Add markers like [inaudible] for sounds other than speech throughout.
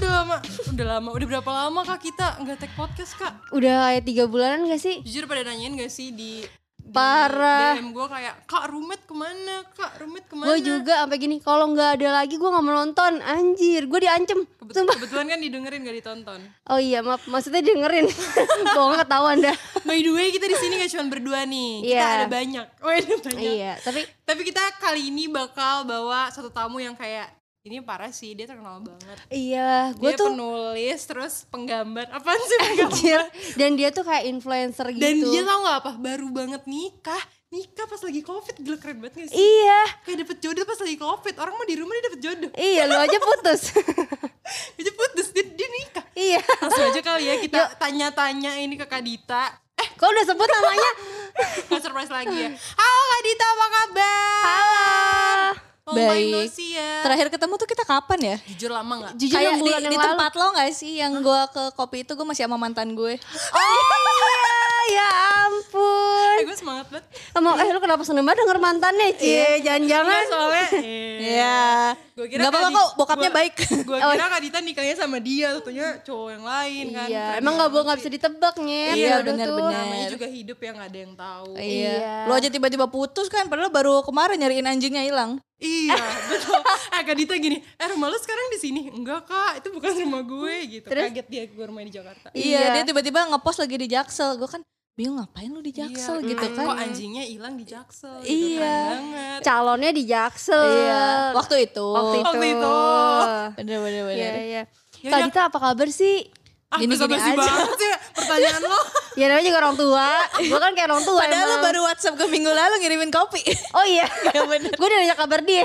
Udah lama, udah berapa lama kak kita nggak tag podcast kak? Udah kayak tiga bulanan gak sih? Jujur pada nanyain gak sih di, di Parah. DM gue kayak kak rumet kemana? Kak rumet kemana? Gue juga sampai gini, kalau nggak ada lagi gue nggak mau nonton. Anjir, gue diancem. Kebet- Sumpah. kebetulan kan didengerin gak ditonton. Oh iya, maaf. Maksudnya dengerin. [laughs] Bohong ketahuan dah. By the way kita di sini gak cuma berdua nih, kita Iya. ada banyak. Oh ada banyak. iya, tapi Tapi kita kali ini bakal bawa satu tamu yang kayak ini parah sih dia terkenal banget. iya, gue Dia tuh penulis terus penggambar apaan sih? penggambar? anjir. Dan dia tuh kayak influencer gitu. Dan dia tau gak apa? Baru banget nikah. Nikah pas lagi covid gila keren banget gak sih? Iya, Kayak dapet jodoh pas lagi covid. Orang mah di rumah dia dapet jodoh. [laughs] iya lu aja putus. [laughs] Dia putus dia, dia nikah. iya. Langsung aja kali ya kita tanya-tanya ini ke Kak Dita. [laughs] Eh, Kok udah sebut [laughs] namanya? gak surprise lagi ya. Halo Kak Dita, apa kabar? Halo. Oh my Baik. ya. Terakhir ketemu tuh kita kapan ya? Jujur lama gak? Jujur Kayak enam di, bulan yang di lalu. tempat lo gak sih yang gue ke kopi itu gue masih sama mantan gue Oh iya, ya ampun. Eh, gue semangat banget. Sama eh lu kenapa seneng banget denger mantannya, Iya, Cie? Iya, Jangan-jangan. Enggak, soalnya eh, Iya Gua Gak apa-apa kok bokapnya gua- [laughs] baik Gua kira Kak Dita nikahnya sama dia, tentunya cowok yang lain kan. Iya, Keren emang nggak banget bohong nggak sih. bisa ditebak nyet. Iya, jodoh tuh. benar-benar. Namanya juga hidup yang nggak ada yang tahu. Iya. Iya. Lo aja tiba-tiba putus kan padahal baru kemarin nyariin anjingnya hilang Iya, [laughs] betul. Eh Kak Dita gini, eh rumah lu sekarang di sini? Enggak kak, itu bukan rumah [laughs] gue gitu. Terus? Kaget dia gue rumah di Jakarta. Iya. Iya, dia tiba-tiba ngepost lagi di Jaksel. Gue kan bingung ngapain lu di Jaksel Iya, gitu mm, kan. Kok anjingnya hilang di Jaksel? gitu, Iya. keren banget. Calonnya di Jaksel. Iya, waktu itu. Waktu itu. Waktu itu. Bener bener Iya, bener. iya. Ya Kak udah. Dita apa kabar sih? Ah, Gini-gini basa-basi aja. banget sih pertanyaan [laughs] lo. Ya namanya juga orang tua. Gue kan kayak orang tua Padahal lu emang. baru WhatsApp gue minggu lalu ngirimin kopi. Oh iya. Iya, bener. Gue udah nanya kabar dia.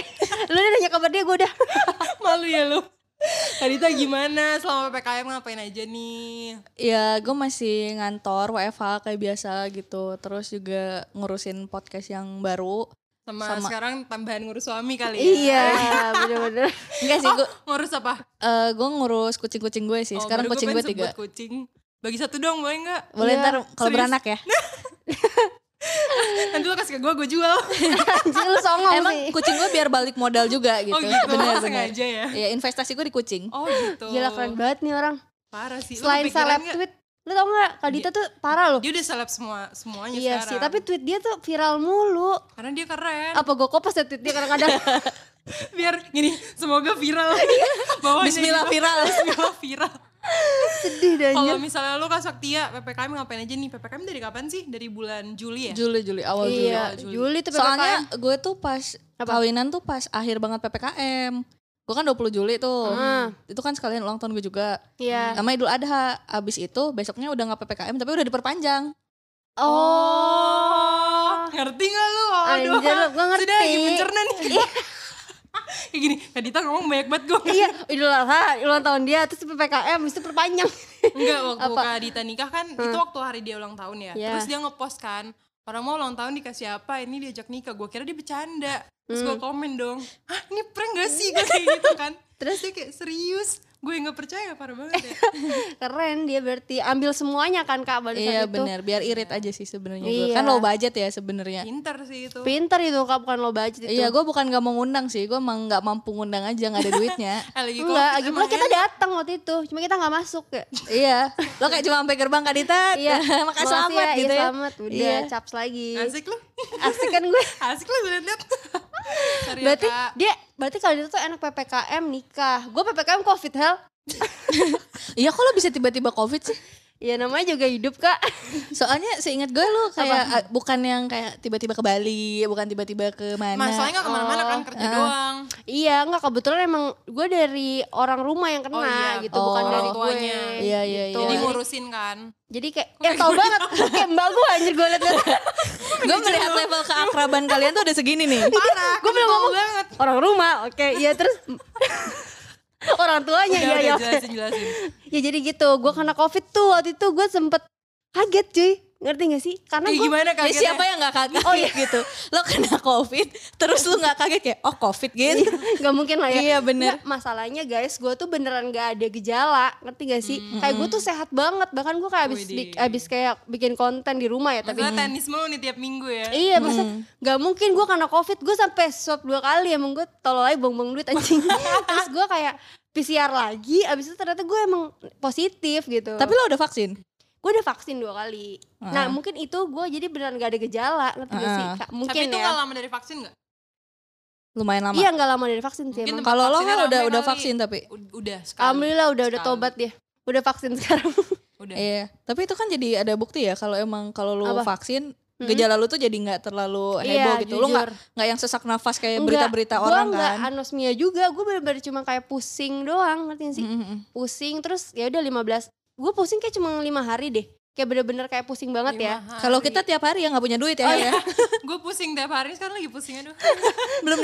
Lu udah nanya kabar dia, gue udah. Malu ya lu. Kak Dita gimana? Selama PPKM ngapain aja nih? ya gue masih ngantor WFH kayak biasa gitu. Terus juga ngurusin podcast yang baru. Sama, Sama. sekarang tambahan ngurus suami kali ya? iya, bener-bener. Enggak sih, [laughs] gue Ngurus apa? gue ngurus kucing-kucing gue Oh, sih. Iya, Sekarang baru kucing pengen gue tiga. sebut kucing. Bagi satu dong boleh nggak? Boleh Iya, ntar kalau serius. beranak ya. Nanti lo kasih ke gue, gue jual. Gitu. Anjing lu songong Emang sih. kucing gue biar balik modal juga gitu. Oh gitu, Bener, lo bener. sengaja ya? Ya investasi gue di kucing. Oh gitu. Gila keren banget nih orang. Parah sih. Lo Selain kepikiran seleb nggak? tweet, lu tau gak Kak Dita tuh parah loh. Dia udah seleb semua semuanya Iya sekarang. sih, tapi tweet dia tuh viral mulu. karena dia keren. Apa gue kopas ya tweet dia kadang-kadang. [laughs] Biar gini, semoga [laughs] viral. Iya. Bawahnya Bismillah gitu. viral. Bismillah viral. Sedih dan Kalau misalnya lo Kak Saktia, PPKM ngapain aja nih? PPKM dari kapan sih? Dari bulan Juli ya? Juli Juli awal Juli. Iya, Juli. Juli tuh Soalnya gue tuh pas Apa? kawinan tuh pas akhir banget PPKM. Gue kan 20 Juli tuh. Heeh. Itu kan sekalian ulang tahun gue juga. Iya. Namanya Idul Adha. Abis itu besoknya udah nggak PPKM tapi udah diperpanjang. Oh, ngerti gak lu? Aduh, Anjir, lu- gua ngerti. Sudah, lagi mencerna nih. [laughs] Kayak gini, Kak Dita ngomong banyak banget gue. iya, Idul Adha, ulang tahun dia, terus PPKM, habis itu perpanjang. [laughs] Enggak, waktu Apa? Hmm. Kak Dita nikah kan, itu waktu hari dia ulang tahun ya. Iya. Terus dia ngepost kan, orang mau ulang tahun dikasih apa, ini diajak nikah. Gue kira dia bercanda. Terus Hmm. gue komen dong, hah ini prank gak sih? Gue kayak gitu kan. Terus dia kayak serius, gue nggak percaya parah [laughs] banget ya. Keren dia berarti ambil semuanya kan Kak pada iya saat itu. bener. Biar irit aja sih sebenarnya. Iya. gue Kan low budget ya sebenarnya. Pinter sih itu. Pinter itu Kak, bukan lo budget itu. Iya, gue bukan gak mau ngundang sih, gue emang gak mampu ngundang aja, gak ada [laughs] duitnya. Eh, lagi Enggak, covid lagi pula emang kita ya. datang waktu itu, cuma kita nggak masuk ya. iya, lo kayak cuma sampai gerbang Kak Dita, Iya, [laughs] makasih selamat ya, gitu iya, ya. selamat. Udah, Iya. caps lagi. Asik lu, [laughs] Asik kan gue. asik lu gue liat. Sorry ya, berarti Kak. dia, berarti kalau dia tuh enak PPKM nikah. Gue PPKM covid hell. Iya, kok lo bisa tiba-tiba covid sih? Ya namanya juga hidup kak. [laughs] Soalnya seingat gue lo kayak ah, bukan yang kayak tiba-tiba ke Bali, bukan tiba-tiba ke mana. Masalahnya gak kemana-mana kan kerja Oh. doang. iya nggak kebetulan emang gue dari orang rumah yang kena Oh, iya. gitu, bukan Oh. dari Orang gue. tuanya. Iya, iya, gitu. iya. Jadi Jadi, ngurusin kan. jadi kayak, ya tau banget kayak mbak gue anjir gue liat [laughs] gue gitu. melihat level keakraban kalian tuh udah segini nih. Parah, [laughs] Gue belum kental ngomong banget. orang rumah, oke, iya terus [laughs] orang tuanya Udah, iya udah, ya. jelasin, jelasin. Ya jadi gitu, gue kena covid tuh waktu itu gue sempet kaget cuy, ngerti gak sih? Karena Kayak gue Eh, [laughs] gimana Ya, kagetnya? siapa yang gak kaget Oh, iya. gitu? Lo kena covid, terus lo gak kaget kayak oh covid gitu. nggak mungkin lah ya Iya, bener. Nggak, masalahnya guys gue tuh beneran gak ada gejala ngerti gak sih kayak gue tuh sehat banget bahkan gue kayak abis Hmm. Widih. di- abis kayak bikin konten di rumah ya tapi Masalah tenis mulu nih tiap minggu ya. Iya, Hmm. maksudnya nggak mungkin [laughs] gue karena covid gue sampai swab dua kali emang gue tolol aja buang-buang duit anjing. Terus gue kayak PCR lagi abis itu ternyata gue emang positif gitu Tapi Hmm. lo udah vaksin? gue udah vaksin dua kali nah Heeh. mungkin itu gue jadi beneran gak ada gejala ngerti gak sih Heeh. Kak? mungkin Tapi itu ya nggak lama dari vaksin nggak? Lumayan lama. iya nggak lama dari vaksin sih Mungkin emang. tempat Kalau lo vaksinnya kan udah ramai udah kali. vaksin tapi U- udah sekali. alhamdulillah ya. udah udah Sekali. tobat dia udah vaksin [laughs] sekarang Udah. Iya, tapi itu kan jadi ada bukti ya kalau emang kalau lu Apa? vaksin Mm-mm. gejala lu tuh jadi nggak terlalu heboh Iya, gitu. Lu nggak jujur. nggak yang sesak nafas kayak Enggak, berita-berita gua orang enggak kan. anosmia juga gue bener-bener cuma kayak pusing doang ngerti nggak sih Mm-mm. pusing terus ya udah 15 gue pusing kayak cuma lima hari deh kayak bener-bener kayak pusing banget ya Ah, Kalau iya. kita tiap hari ya nggak punya duit ya, ya. [laughs] gue pusing tiap hari sekarang lagi pusing aduh. belum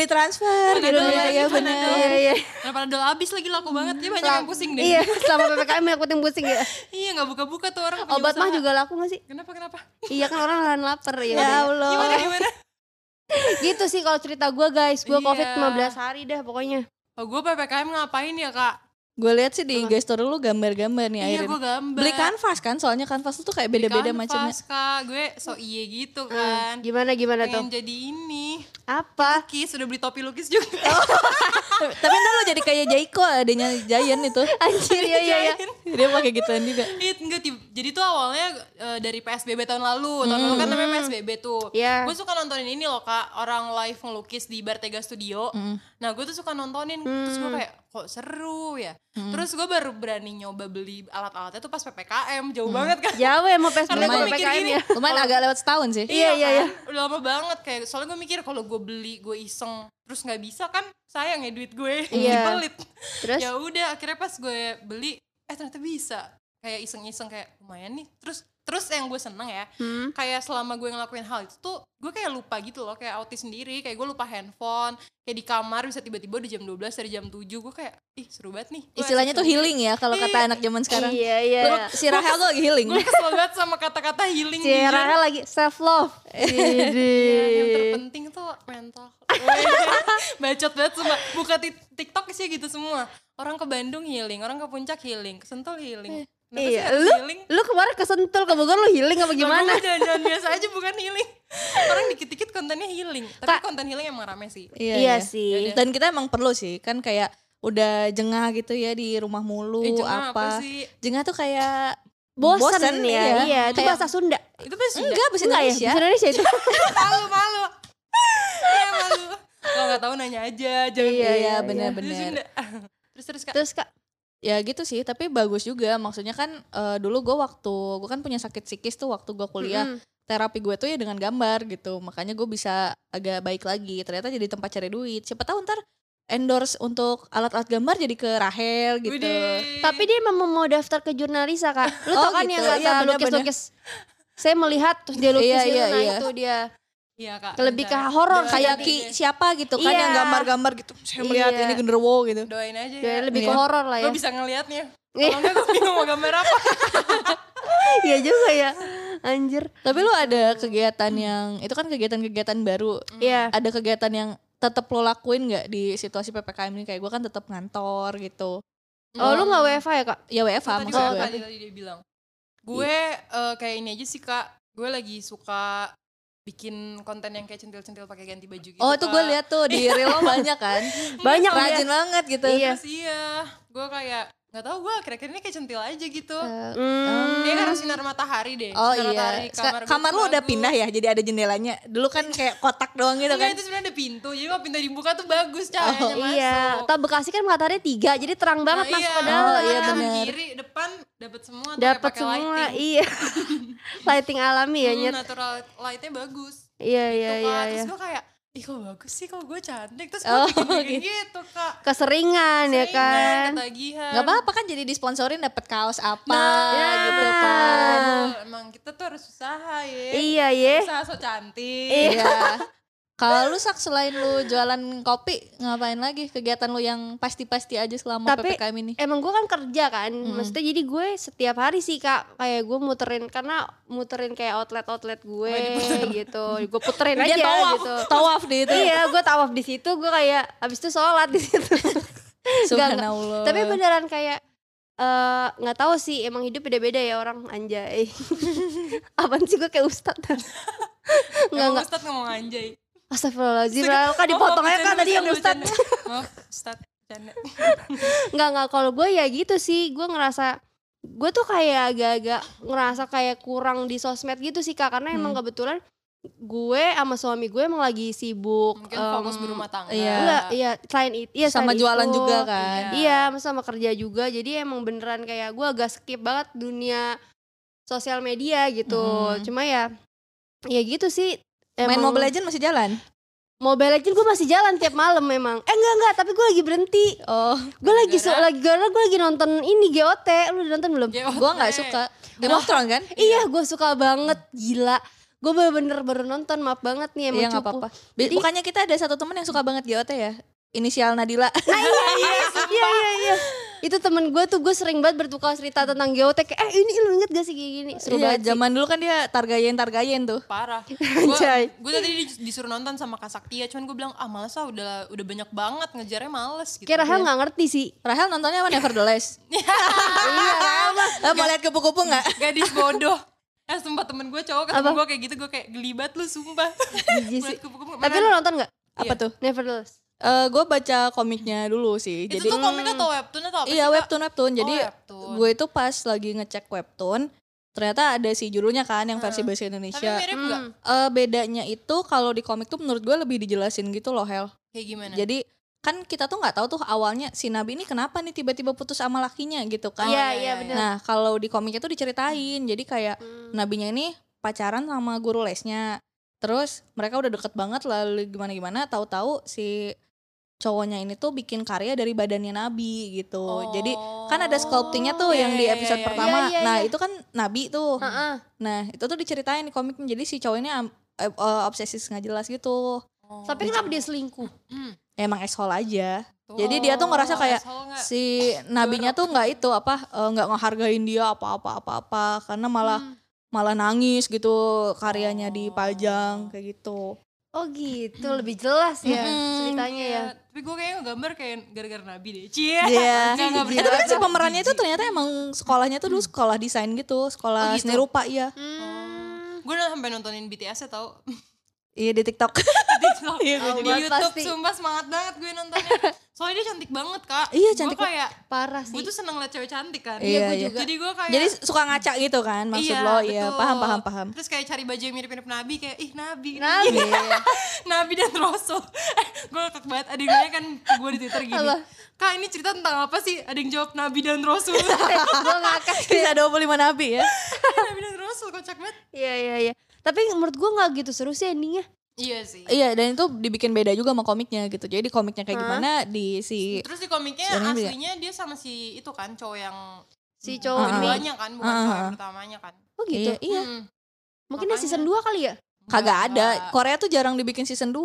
Mana ditransfer gitu dong, ya, ya mana benar. dong? iya iya Kenapa dol abis lagi laku banget dia banyak yang pusing deh. iya selama ppkm yang pusing ya Iya nggak buka-buka tuh orang. nggak punya obat mah usaha. juga laku gak sih Kenapa kenapa? iya kan orang lahan lapar ya Ya udah. Allah. Gimana gimana? gitu sih kalau cerita gue guys gue Iya. covid 15 hari dah pokoknya Oh gue ppkm ngapain ya kak? Gue lihat sih di IG story lu Ya, gambar-gambar nih Iya akhirnya. gue gambar. Beli kanvas kan, soalnya kanvas tuh kayak beda-beda Kanvas, macamnya. kak gue so iye gitu Eh, kan. gimana gimana tuh Pengen jadi ini. apa [laughs] Lukis udah beli topi lukis juga. Oh, Tapi tapi ntar lu jadi kayak Jaiko adanya Jayan itu. anjir ya ya ya Dia pakai gituan juga. It, enggak, tib- jadi tuh awalnya eh, dari PSBB tahun lalu tahun lalu kan namanya PSBB tuh Mm-hmm. Iya. gue suka nontonin ini loh kak orang live ngelukis di Bartega Studio Mm-hmm. nah gue tuh suka nontonin Mm. terus gue kayak kok seru ya Mm-hmm. terus gue baru berani nyoba beli alat-alatnya tuh pas ppkm jauh Mm. banget kan jauh ya emang psbb Karena gua sama mikir ppkm gini, ya Lumayan agak lewat setahun sih. [laughs] Iya, iya, kan? iya. udah lama banget kayak soalnya gue mikir kalau gue beli gue iseng terus nggak bisa kan sayang ya duit gue Iya. [laughs] pelit terus ya udah akhirnya pas gue beli eh ternyata bisa kayak iseng-iseng kayak lumayan nih terus terus yang gue seneng ya hmm, kayak selama gue ngelakuin hal itu tuh gue kayak lupa gitu loh kayak autis sendiri kayak gue lupa handphone kayak di kamar bisa tiba-tiba udah jam 12 dari jam 7 gue kayak ih seru banget nih Gue Istilahnya tuh activity. healing ya kalau kata anak zaman sekarang. iya iya Lu- Si Rahel tuh lagi healing. gue kesel banget sama kata-kata healing si jujur. Rara lagi self love Ya, yang [laughs] Widih. terpenting tuh mental [laughs] bacot banget semua buka ti- tiktok sih gitu semua orang ke Bandung healing orang ke puncak healing ke Sentul Eh, healing Kenapa sih Iya, harus lu healing? lu kemarin kesentul ke Bogor lu healing apa gimana? Lagu jangan biasa aja bukan healing. Orang dikit-dikit kontennya healing. Tapi konten healing emang rame sih. Iya sih. Dan kita emang perlu sih, kan kayak udah jengah gitu ya di rumah mulu Eh, jengah apa. apa sih? Jengah tuh kayak Bosan, bosen, ya. iya. Iya, itu Kayak- bahasa Sunda. Itu pasti enggak enggak Enggak bahasa ya? Indonesia. Bahasa Indonesia itu. malu [laughs] malu. Iya malu. Kalau nggak tahu nanya aja. Jangan Iya, iya, benar-benar. Terus Sunda. Terus terus kak. Terus Kak, Ya gitu sih, tapi bagus juga. Maksudnya kan eh, dulu gue waktu gue kan punya sakit psikis tuh waktu gue mm, kuliah. Terapi gue tuh ya dengan gambar gitu. Makanya gue bisa agak baik lagi. Ternyata jadi tempat cari duit. Siapa tahu ntar endorse untuk alat-alat gambar jadi ke Rahel gitu. Widih. tapi dia memang mau daftar ke jurnalisa, Kak. Lu Oh, tau kan yang gitu. enggak Iya, tahu bener-bener. lukis-lukis. Saya melihat terus dia lukis Iya, gitu, iya, nah iya. itu dia. Iya kak. Lebih ke rencana. horor Doain Kayak aja Ki deh. siapa gitu kan Iya. yang gambar-gambar gitu. Saya melihat Iya. ini genderuwo gitu. Doain aja. Dia Ya. lebih ke Iya. horor lah ya. Lo bisa [laughs] ngelihatnya. Iya. Kalau enggak gue bingung mau gambar apa. Iya juga ya. Anjir. Tapi lu ada kegiatan yang itu kan kegiatan-kegiatan baru. Iya. Ada kegiatan yang tetap lo lakuin nggak di situasi ppkm ini kayak gue kan tetap ngantor gitu [laughs] Oh, lu enggak WFH ya, Kak? ya WFH Tadi maksud gue gue tadi, tadi dia bilang. Gue eh, Iya. kayak ini aja sih kak. Gue lagi suka bikin konten yang kayak centil-centil pakai ganti baju gitu. Oh itu gue Kak. lihat tuh di reel lo banyak kan [laughs] Banyak dia. Rajin banget gitu Iya. Terus iya, gue kayak nggak tahu gue akhir-akhir ini kayak centil aja gitu. Eh, Hmm. Kayaknya karena kan sinar matahari deh. Oh sinar iya di Seka- gua Kamar tuh lo udah bagus. pindah ya jadi ada jendelanya Dulu kan kayak kotak doang gitu Enggak, kan Iya, Oh, itu sebenarnya ada pintu. Jadi kalau pintu dibuka tuh bagus cahayanya masuk. Iya, tau Bekasi kan matahari tiga, jadi terang Nah, banget masuk ke iya, dalam. Oh, iya, kanan, bener. Kiri, depan dapat semua tuh kayak Dapat pakai semua, lighting. iya. [laughs] lighting alami iya, ya, Hmm, Nyet. natural lightnya bagus. Iya, iya, Tuh, Kak. iya, kan, Terus iya. gue kayak, ih kok bagus sih kok gue cantik. Terus Oh, gue bikin-bikin [laughs] gitu. gitu kak. Keseringan ya Seringan, kan. gitu Ketagihan. Gak apa-apa kan jadi disponsorin dapat kaos apa Nah, gitu kan Aduh, Emang kita tuh harus usaha ya. Iya, iya. Usaha so cantik. Iya Kalau lu sak selain lu jualan kopi ngapain lagi kegiatan lu yang pasti-pasti aja selama Tapi- PPKM ini? Emang gue kan kerja kan, maksudnya jadi gue setiap hari sih kak kayak gue muterin karena muterin kayak outlet-outlet gue gitu, gue puterin aja Dia tawaf, gitu. tawaf di itu. iya, gue tawaf di situ, gue kayak abis itu sholat di situ. Enggak, enggak. Subhanallah. Tapi beneran kayak eh, nggak tahu sih, emang hidup beda-beda ya orang anjay. [laughs] Apaan sih gue kayak ustad? Enggak Emang enggak. Ustadz ngomong anjay. kan Astagfirullahaladzim, Rahel, kan dipotong aja kan tadi yang ustad. Maaf Ustadz. Bercanda. nggak nggak kalau gue ya gitu sih gue ngerasa gue tuh kayak agak-agak ngerasa kayak kurang di sosmed gitu sih kak karena emang Hmm. kebetulan gue sama suami gue emang lagi sibuk Mungkin em, fokus berumah tangga. iya. [laughs] enggak, iya selain itu iya sama selain jualan itu. juga kan Iya. iya sama- sama kerja juga jadi emang beneran kayak gue agak skip banget dunia sosial media gitu Mhm. cuma ya ya gitu sih main Emang- Mobile Legend masih jalan Mobile Legends gue masih jalan tiap malam memang. Eh enggak enggak, tapi gue lagi berhenti. oh Gue lagi so, Gara-gara? lagi karena gue lagi nonton ini GOT. Lu udah nonton belum? Jawab gue nggak deh. suka Game of Thrones kan Iya, gue suka banget, gila. Gue bener-bener baru nonton, maaf banget nih emang Iya nggak cupu. apa-apa. Bi- Jadi- Bukannya kita ada satu teman yang suka banget GOT ya? Inisial Nadila. [laughs] Iya, iya, iya, iya. Itu temen gue tuh gue sering banget bertukar cerita tentang GOT kayak eh ini lu inget gak sih kayak gini? Seru Iya, banget. sih. zaman dulu kan dia targayen targayen tuh. [laughs] parah Anjay. gue tadi dis- disuruh nonton sama Kak Saktia cuman gue bilang ah males lah udah udah banyak banget ngejarnya males gitu Kayak Rahel gak ngerti sih. Rahel nontonnya apa Nevertheless? iya, Rahel. Eh, mau lihat kupu-kupu [laughs] nggak? gadis bodoh eh sumpah temen gue cowok ketemu gue kayak gitu gue kayak gelibat lu sumpah Jijik sih. Ngeliat kupu-kupu, Tapi mana- lu nonton gak? Apa tuh? Nevertheless. Eh, gue baca komiknya dulu sih. itu Jadi tuh komik atau webtoon atau apa sih, iya Kak? webtoon webtoon. Jadi Oh, webtoon. gue itu pas lagi ngecek webtoon, ternyata ada si judulnya kan yang versi bahasa tapi Indonesia. mirip nggak Hmm. Eh, bedanya itu kalau di komik tuh menurut gue lebih dijelasin gitu loh Hel. kayak gimana Jadi kan kita tuh nggak tahu tuh awalnya si Nabi ini kenapa nih tiba-tiba putus sama lakinya gitu kan. Iya, iya, iya iya. bener. Nah, kalau di komiknya tuh diceritain. Jadi kayak Hmm. nabinya ini pacaran sama guru lesnya. Terus mereka udah deket banget lalu gimana-gimana tahu-tahu si cowoknya ini tuh bikin karya dari badannya nabi gitu. Jadi kan ada sculptingnya tuh Iya, yang di iya, iya, episode iya. pertama. Iya, iya, nah, iya. itu kan nabi tuh. Heeh. Nah, itu tuh diceritain di komiknya. Jadi si cowok ini am- eh, eh, obsesi nggak jelas gitu. Oh. Tapi kenapa dia selingkuh? Hmm. Emang asshole aja. Tuh. Jadi dia tuh ngerasa kayak Asal nggak? si nabinya tuh nggak itu apa eh, nggak ngehargain dia apa-apa apa-apa karena malah Hmm. malah nangis gitu Oh. karyanya dipajang kayak gitu. Oh gitu, lebih jelas ya Mm-mm. ceritanya Iya, ya. tapi gue kayaknya gambar kayak gara-gara nabi deh [laughs] cie Enggak, Iya. enggak, Eh, bercanda. tapi kan si Jijik. pemerannya itu ternyata emang sekolahnya tuh dulu sekolah desain gitu, Oh, sekolah gitu? seni rupa iya. Hmm. gue udah sampai nontonin BTS ya [laughs] tau Iya di TikTok. TikTok. Iya, gua di juga. YouTube Pasti. sumpah semangat banget gue [laughs] nontonnya. Soalnya dia cantik banget kak. Iya, cantik Gue kayak Parah sih. gue tuh seneng liat cewek cantik kan. Iya, gue iya. juga. Jadi gue kayak Jadi suka ngaca gitu kan maksud Iya, lo iya betul. paham paham [laughs] paham. Terus kayak cari baju yang mirip-mirip Nabi kayak ih Nabi. Nabi. [laughs] Iya. Nabi dan Rasul. [laughs] Eh, gue ngakak banget ada yang nanya kan ke gue di Twitter gini. Apa? Kak ini cerita tentang apa sih? Ada yang jawab Nabi dan [laughs] Rasul. gue ngakak Bisa 25 nabi ya. Nabi dan Rasul kocak banget. Iya iya iya. Tapi menurut gue nggak gitu seru sih endingnya. Iya sih. [laughs] Iya dan itu dibikin beda juga sama komiknya gitu. Jadi di komiknya kayak gimana di si Terus di komiknya Sebenarnya beda. aslinya dia sama si itu kan cowok yang Si cowok Ah, ah. ini. keduanya kan bukan cowok yang pertamanya kan. Oh gitu. Iya, iya. Hmm. Mungkin dia season 2 kali ya? kagak ada. Enggak. Korea tuh jarang dibikin season 2.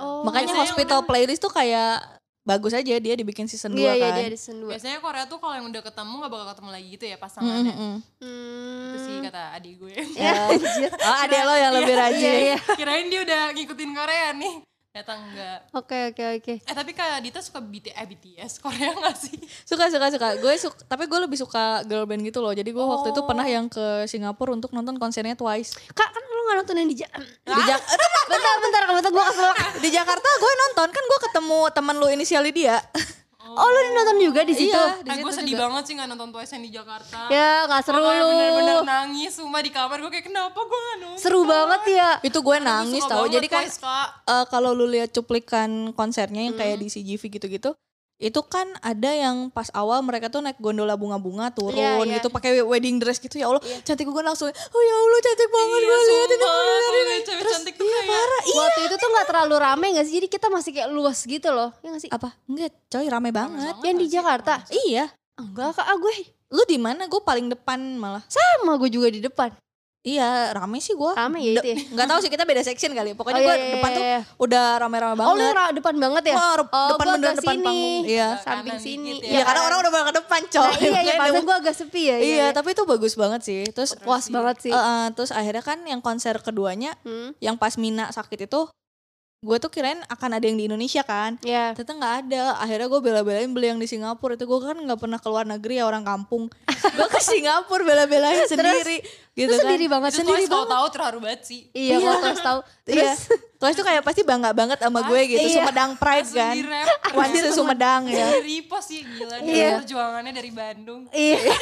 Oh. Makanya Biasanya hospital playlist tuh kayak bagus aja dia dibikin season 2 Iya iya kan. dia ada season 2. Biasanya Korea tuh kalau yang udah ketemu gak bakal ketemu lagi gitu ya Mm, mm, pasangannya. mm. Hmm. Itu sih kata adik gue. [laughs] Ya, Ya. anjir. Oh, ada lo yang lebih Iya rajin. iya. Kirain dia udah ngikutin Korea nih. Ternyata enggak. Oke oke oke. Eh tapi Kak Dita suka BT, eh, BTS Korea gak sih? Suka suka suka. Gue suka, tapi gue lebih suka girl band gitu loh. Jadi gue waktu itu Oh. pernah yang ke Singapura untuk nonton konsernya Twice. Kak kan lu nggak nonton yang di Ja- Ah, Di, Jak- Bentar bentar kamu tuh gue kesel. di Jakarta gue nonton kan gue ketemu teman lu inisialnya dia. Oh lu nonton juga di situ? Iya, di Eh gue situ sedih juga. banget sih gak nonton Twice yang di Jakarta. Iya. Ya nggak Gue seru kayak lu. Bener-bener nangis sumpah di kamar gue kayak kenapa gue gak nonton. Seru banget ya. [laughs] Itu Gue gue nangis suka tau. banget Jadi kan Twice, Kak. eh, kalau lu lihat cuplikan konsernya yang Hmm. kayak di CGV gitu-gitu, itu kan ada yang pas awal mereka tuh naik gondola bunga-bunga turun Iya, iya. gitu pakai wedding dress gitu ya Allah cantik gue langsung oh ya Allah cantik banget Iya gue lihat ini sumpah, beneran kalau ini." lihat cewek terus cantik iya, tuh kayak. Iya. Waktu itu tuh nggak terlalu rame nggak sih? Jadi kita masih kayak luas gitu loh. Ya nggak sih? apa enggak coy rame banget banget. Yang di Jakarta? iya Enggak kak, ah, gue lu di mana gue paling depan malah sama gue juga di depan. iya rame sih gue Rame ya itu ya? nggak tahu sih kita beda section kali Oh, pokoknya gue iya, iya, depan tuh iya. udah rame-rame Oh lu banget ra- depan banget ya? Wah, re- Oh, depan gua beneran agak depan sini. panggung iya Ke samping kanan sini. dikit Iya Iya, karena kan? orang udah bakal ke depan coy Nah, iya, ya Makanya pantesan depan- gue agak sepi ya. Iya, tapi itu bagus banget sih terus puas sih. banget sih. eh, terus akhirnya kan yang konser keduanya Hmm. yang pas Mina sakit itu gue tuh kirain akan ada yang di Indonesia kan Ya. [laughs] ternyata nggak ada akhirnya gue bela-belain beli yang di Singapura itu gue kan nggak pernah keluar negeri ya orang kampung gue ke Singapura bela-belain sendiri gitu Lu kan sendiri banget Itu sendiri Twice kalau tahu terharu banget sih. Iya, Iya. kalau terus tahu. Iya. Terus Terus itu kayak pasti bangga banget sama gue gitu, Iya. Sumedang pride Langsung kan. di [laughs] rap. Wansi [laughs] Sumedang ya. Di repost sih gila dia Iya. perjuangannya dari Bandung. iya.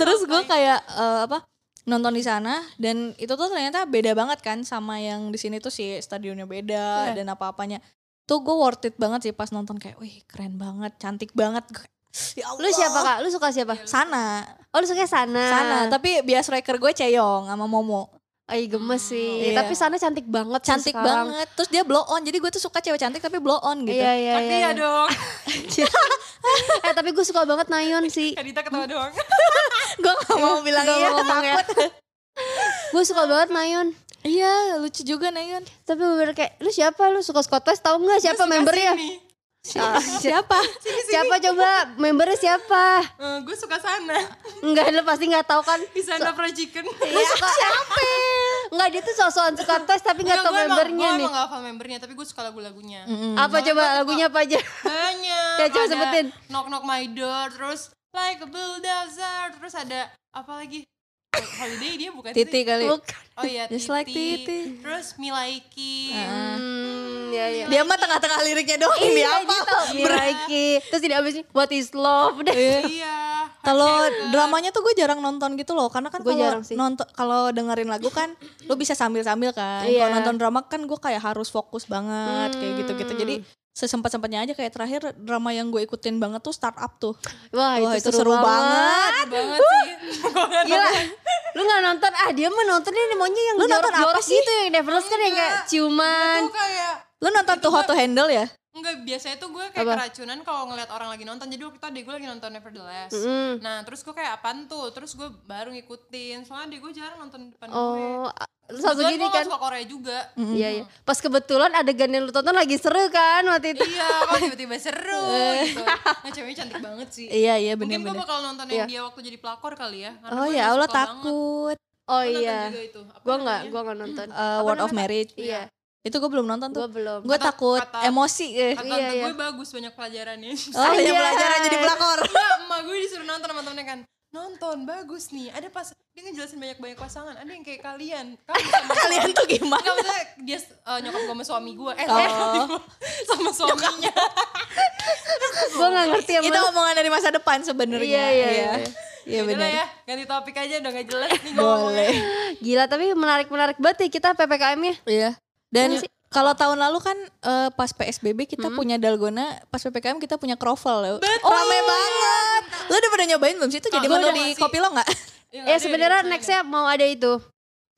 Terus gue kayak eh, apa? nonton di sana dan itu tuh ternyata beda banget kan sama yang di sini tuh sih stadionnya beda Iya. dan apa-apanya. Tuh gue worth it banget sih pas nonton kayak, wih keren banget, cantik banget. Gue kayak, Ya Lu siapa, Kak? Lu suka siapa? Sana, Oh, lu suka sana. Iya, sana. Tapi bias striker gue Ceyong sama Momo. Ay, gemes sih. Iya. Tapi sana cantik banget sih Cantik sekarang. banget. Terus dia blow on. Jadi gue tuh suka cewek cantik tapi blow on gitu. Iya, [laughs] iya, Tapi iya. ya dong, [laughs] Eh, tapi gue suka banget Nayon sih. Kadita ketawa doang. gue gak mau bilang Gak iya, mau ngomong ya. takut. Gue suka banget Nayon. Iya, lucu juga Nayon. Tapi bener kayak, lu siapa? Lu suka Scott West tau gak [laughs] siapa membernya? Sini. Ah, Siapa? siapa coba? Membernya siapa? Eh, gue suka sana. [laughs] Enggak, lu pasti gak tahu kan. Di sana Fried [laughs] Chicken. Lu suka siapa? Enggak, dia tuh sosokan suka tes tapi gak Enggak, tau gue emang, gue membernya nih. emang gak hafal membernya, tapi gue suka lagu-lagunya. Apa coba lagunya apa aja? Banyak. Ya, coba Ada sebutin. Knock Knock My Door, terus Like a Bulldozer, terus ada apa lagi? Eh, Holiday dia bukan sih? Titi kali. Bukan. Oh iya, Just like Titi. Terus Milaiki. Hmm, ya, ya. Dia mah tengah-tengah liriknya doang Iya, ini apa? Miraiki. gitu. Terus tidak habis nih, what is love? Udah. Iya. Kalau dramanya tuh gue jarang nonton gitu loh, karena kan Gua kalau jarang sih. nonton kalau dengerin lagu kan lu bisa sambil-sambil kan. Iya. Hmm. Kalau nonton drama kan gue kayak harus fokus banget kayak gitu-gitu. Jadi sesempat-sempatnya aja kayak terakhir drama yang gue ikutin banget tuh startup tuh. Wah, itu, Wah, itu seru, seru banget. Seru banget sih. Gua nggak Gila. tahu. Lu gak nonton, ah dia mah nontonnya nih maunya yang Lu nonton apa jorok-jorok sih? gitu yang Devils kan yang kayak Enggak. ciuman. Tuh kayak Lu nonton tuh How to Handle ya? Enggak, biasanya tuh gue kayak Apa? keracunan kalau ngeliat orang lagi nonton. Jadi waktu itu adek gue lagi nonton Nevertheless. Mm. Nah, terus gue kayak apaan tuh? Terus gue baru ngikutin. Soalnya adek gue jarang nonton depan gue. Oh, a- terus langsung Kebetulan gini gue nggak kan. suka Korea juga. Iya, iya. Pas kebetulan adegan yang lu tonton lagi seru kan waktu itu. iya, kok tiba-tiba seru gitu. Nah, ceweknya cantik banget sih. Iya iya Mungkin gue bener-bener. bakal nonton yang dia waktu jadi pelakor kali ya. Karena Oh gue ya udah Allah suka banget. takut. Oh Gue nonton iya. juga itu. Apa Gua nggak, namanya? gua nggak nonton. Eh, Apa Word of namanya? Marriage. Iya, Itu gue belum nonton tuh. gua belum. Gue Kata- takut kata- emosi. Eh. Kata Iya, tante iya. gue bagus banyak pelajarannya. Oh, Anjay. ya pelajaran jadi [laughs] pelakor. Enggak, emak gue disuruh nonton sama temennya kan. Nonton, bagus nih. Ada pas, dia ngejelasin banyak-banyak pasangan. Ada yang kayak kalian. Kamu sama Kalian tuh gimana? Enggak maksudnya dia eh, nyokap gue sama suami gue. Eh, Oh. suami gua. sama suaminya. [laughs] Gua nggak ngerti apa. Itu omongan dari masa depan sebenarnya. Iya, iya, Iya, [laughs] iya. Iya, Yaudah benar. ya, ganti topik aja udah gak jelas nih ngomongnya. Boleh. Gila, tapi menarik-menarik banget ya kita PPKM-nya. Iya. Dan Iya sih. kalau tahun lalu kan eh, pas PSBB kita punya dalgona, pas PPKM kita punya kroffel. Betul. Rame banget. Lu udah pada nyobain belum sih itu jadi Gua menu udah di ngasih. kopi lo enggak? Iya, nggak Ya ada, sebenarnya ada. nextnya mau ada itu.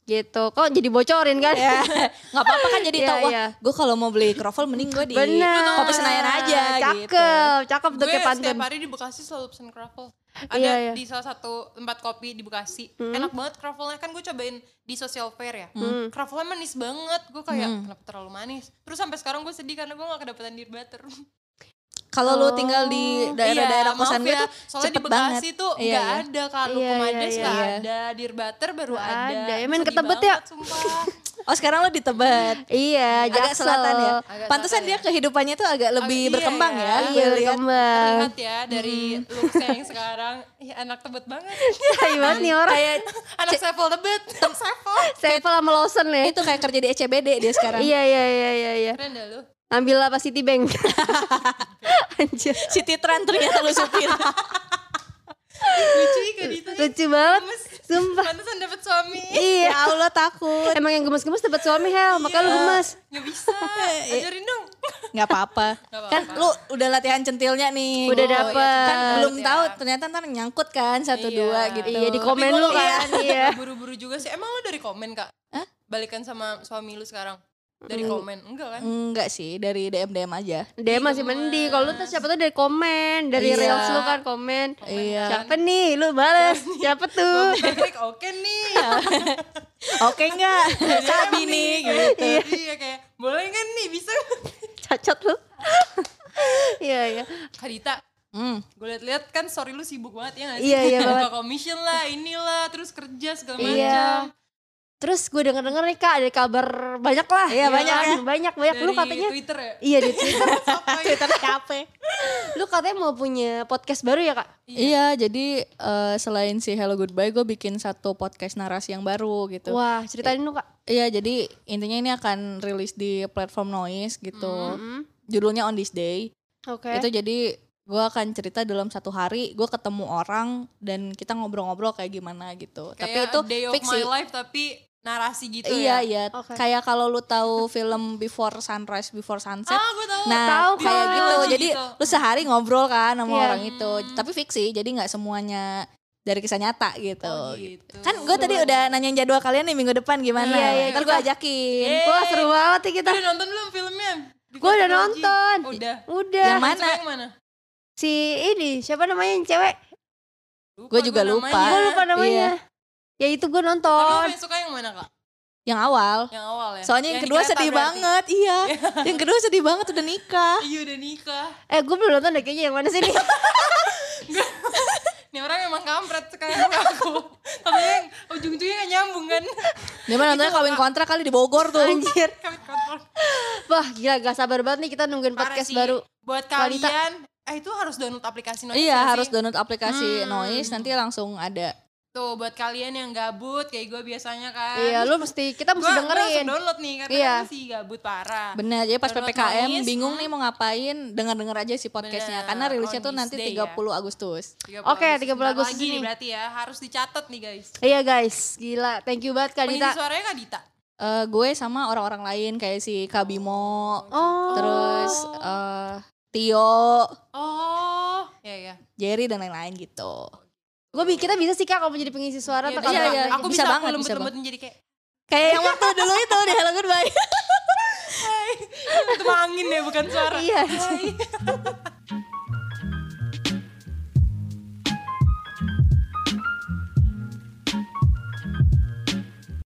Gitu. Kok jadi bocorin kan? [laughs] Ya. [laughs] Enggak apa-apa kan jadi Iya, tahu. iya. Wah, gua kalau mau beli kroffel mending gua di Benar. kopi Iya, Senayan aja Cakep, gitu. cakep tuh Gue kayak pantun. setiap hari di Bekasi selalu pesen kroffel. Ada Iya, iya. di salah satu tempat kopi di Bekasi. Enak banget kroffelnya. Kan gue cobain di social fair ya. Hmm. Kroffelnya manis banget. Gue kayak kenapa terlalu manis. Terus sampai sekarang gue sedih karena gue gak kedapetan dear butter. Kalau lu tinggal di daerah-daerah Iya, kosan maaf gue ya. tuh Soalnya di cepet Bekasi banget. tuh Iya, nggak iya. ada kan. Iya, Iya, Kumades iya, nggak iya. ada. Dear butter baru Nggak ada. ada. Ya, men, Sedih ketebet banget, ya. [laughs] sumpah. Oh, sekarang lu di Tebet. Iya, agak jaksel. selatan ya. Agak Pantesan selatan dia kehidupannya tuh agak lebih Agak- iya berkembang ya. ya. Iya, gue lihat. berkembang. Terlihat ya dari looksnya [laughs] yang sekarang. Ih, anak tebet banget. Tai banget nih orang. Kayak anak sevel [laughs] tebet. Sevel. Sevel sama Lawson ya. Itu kayak kerja di E ECBD dia sekarang. Iya, iya, iya, iya, iya. Keren dah lu. Ambil apa City [laughs] Bank. Anjir. City Tran ternyata lu supir. Lucu ya Dita ya. Lucu banget. Gemes. Sumpah. Pantesan dapet suami. ya Iya. Allah takut. Emang yang gemes-gemes dapat suami hel, makanya lu Iya. gemes. Nggak bisa. [laughs] Iya. Ajarin dong. Nggak apa-apa. apa-apa. Kan lu udah latihan centilnya nih. Udah gitu. dapet. Kan belum Iya. tahu ternyata ntar nyangkut kan satu Iya. dua gitu. [laughs] Iya, di komen Tapi lu gua- kan. Iya. Nggak [laughs] Buru-buru juga sih. Emang lu dari komen kak? Hah? Balikan sama suami lu sekarang? Dari komen? Enggak [laughs] kan? Enggak sih, dari DM DM aja. Dia masih mending. Kalau lu tuh siapa tuh dari komen, dari Iya. reels lu kan komen. Iya. Siapa nih? Lu balas. Siapa tuh? Gua klik oke nih. Iya. Oke enggak? [laughs] Sabi nih gitu. Iya kayak boleh kan nih bisa. Cacat lu. [laughs] Iya, iya. Kak Dita, [laughs] Hmm. gue liat-liat kan story lu sibuk banget ya gak sih? Iya, iya banget. Buka commission lah, inilah, terus kerja segala Iya. macam. Terus gue denger-denger nih kak ada kabar banyak lah. Iya, banyak kan? ya. Banyak banyak. Lu Dari katanya Twitter ya? iya di Twitter. Oh, Twitter capek. Lu katanya mau punya podcast baru ya kak? Iya, jadi eh, selain si Hello Goodbye, gue bikin satu podcast narasi yang baru gitu. Wah ceritain lu kak. Iya, jadi intinya ini akan rilis di platform Noise gitu. Mm-mm. Judulnya On This Day. Oke. Itu jadi gue akan cerita dalam satu hari gue ketemu orang dan kita ngobrol-ngobrol kayak gimana gitu. Tapi Kayak itu day of fiksi. my life tapi narasi gitu iya, ya? iya. Oke. Kayak kalau lu tahu film Before Sunrise, Before Sunset. Ah, gue tahu. Tahu Nah, kayak kan. gitu. Gitu. Jadi lu sehari ngobrol kan sama Iya. orang itu, tapi fiksi. Jadi nggak semuanya dari kisah nyata gitu. Oh, gitu. Kan gue tadi udah nanyain jadwal kalian nih minggu depan gimana. Iya, iya, Ntar kita- gue ajakin. Yeay. Wah seru banget ya kita. Udah nonton belum filmnya? Di Gue udah Kota Loji. nonton. Iya, Udah. Udah. Yang mana? Coba Yang mana? Si ini siapa namanya yang cewek? Lupa Gue juga gua lupa. namanya. Gue lupa namanya. Ya itu gue Iya. Tapi lu nonton. paling suka yang mana kak? Yang awal. Yang awal ya? Soalnya yang, di kedua kereta sedih berarti. banget. Iya. yang kedua sedih banget udah nikah. Iya udah nikah. Eh gue belum nonton deh kayaknya yang mana sih ini? Ini orang memang kampret sekarang aku. Tapi yang ujung-ujungnya gak nyambung kan? Dia mah nontonnya kawin kontrak kali di Bogor tuh. Anjir. Kami kotor. Wah gila gak sabar banget nih kita nungguin Parah podcast sih. baru. Buat Wanita. kalian, eh itu harus download aplikasi Noise Iya gak sih? harus download aplikasi Hmm. Noise nanti langsung ada. Tuh buat kalian yang gabut kayak gue biasanya kan. Iya lu mesti kita mesti Gua- gua dengerin. langsung download nih karena Iya. aku sih gabut parah. Bener, jadi pas Nah, Download PPKM Noise, bingung hmm. nih mau ngapain, denger-denger aja sih podcastnya. Bener, Karena rilisnya tuh on nanti this day 30 ya. Agustus. 30 Oke, Agustus. 30 Bentar Agustus lagi nih ini. berarti ya harus dicatat nih guys. Iya guys, gila. Thank you banget Kak Pengisi Dita. suaranya Kak Dita. Eh, gue sama orang-orang lain kayak si Kabimo, Oh. terus eh, Tio, Oh, iya iya. Jerry dan lain-lain gitu. Gue kita bisa sih Kak kalau menjadi pengisi suara Iya, atau iya, iya. Aku bisa, Bisa banget, aku bisa lembut-lembutin jadi kayak Kayak yang waktu dulu itu di Hello Goodbye. itu mah angin deh ya, bukan suara. Iya. Hai.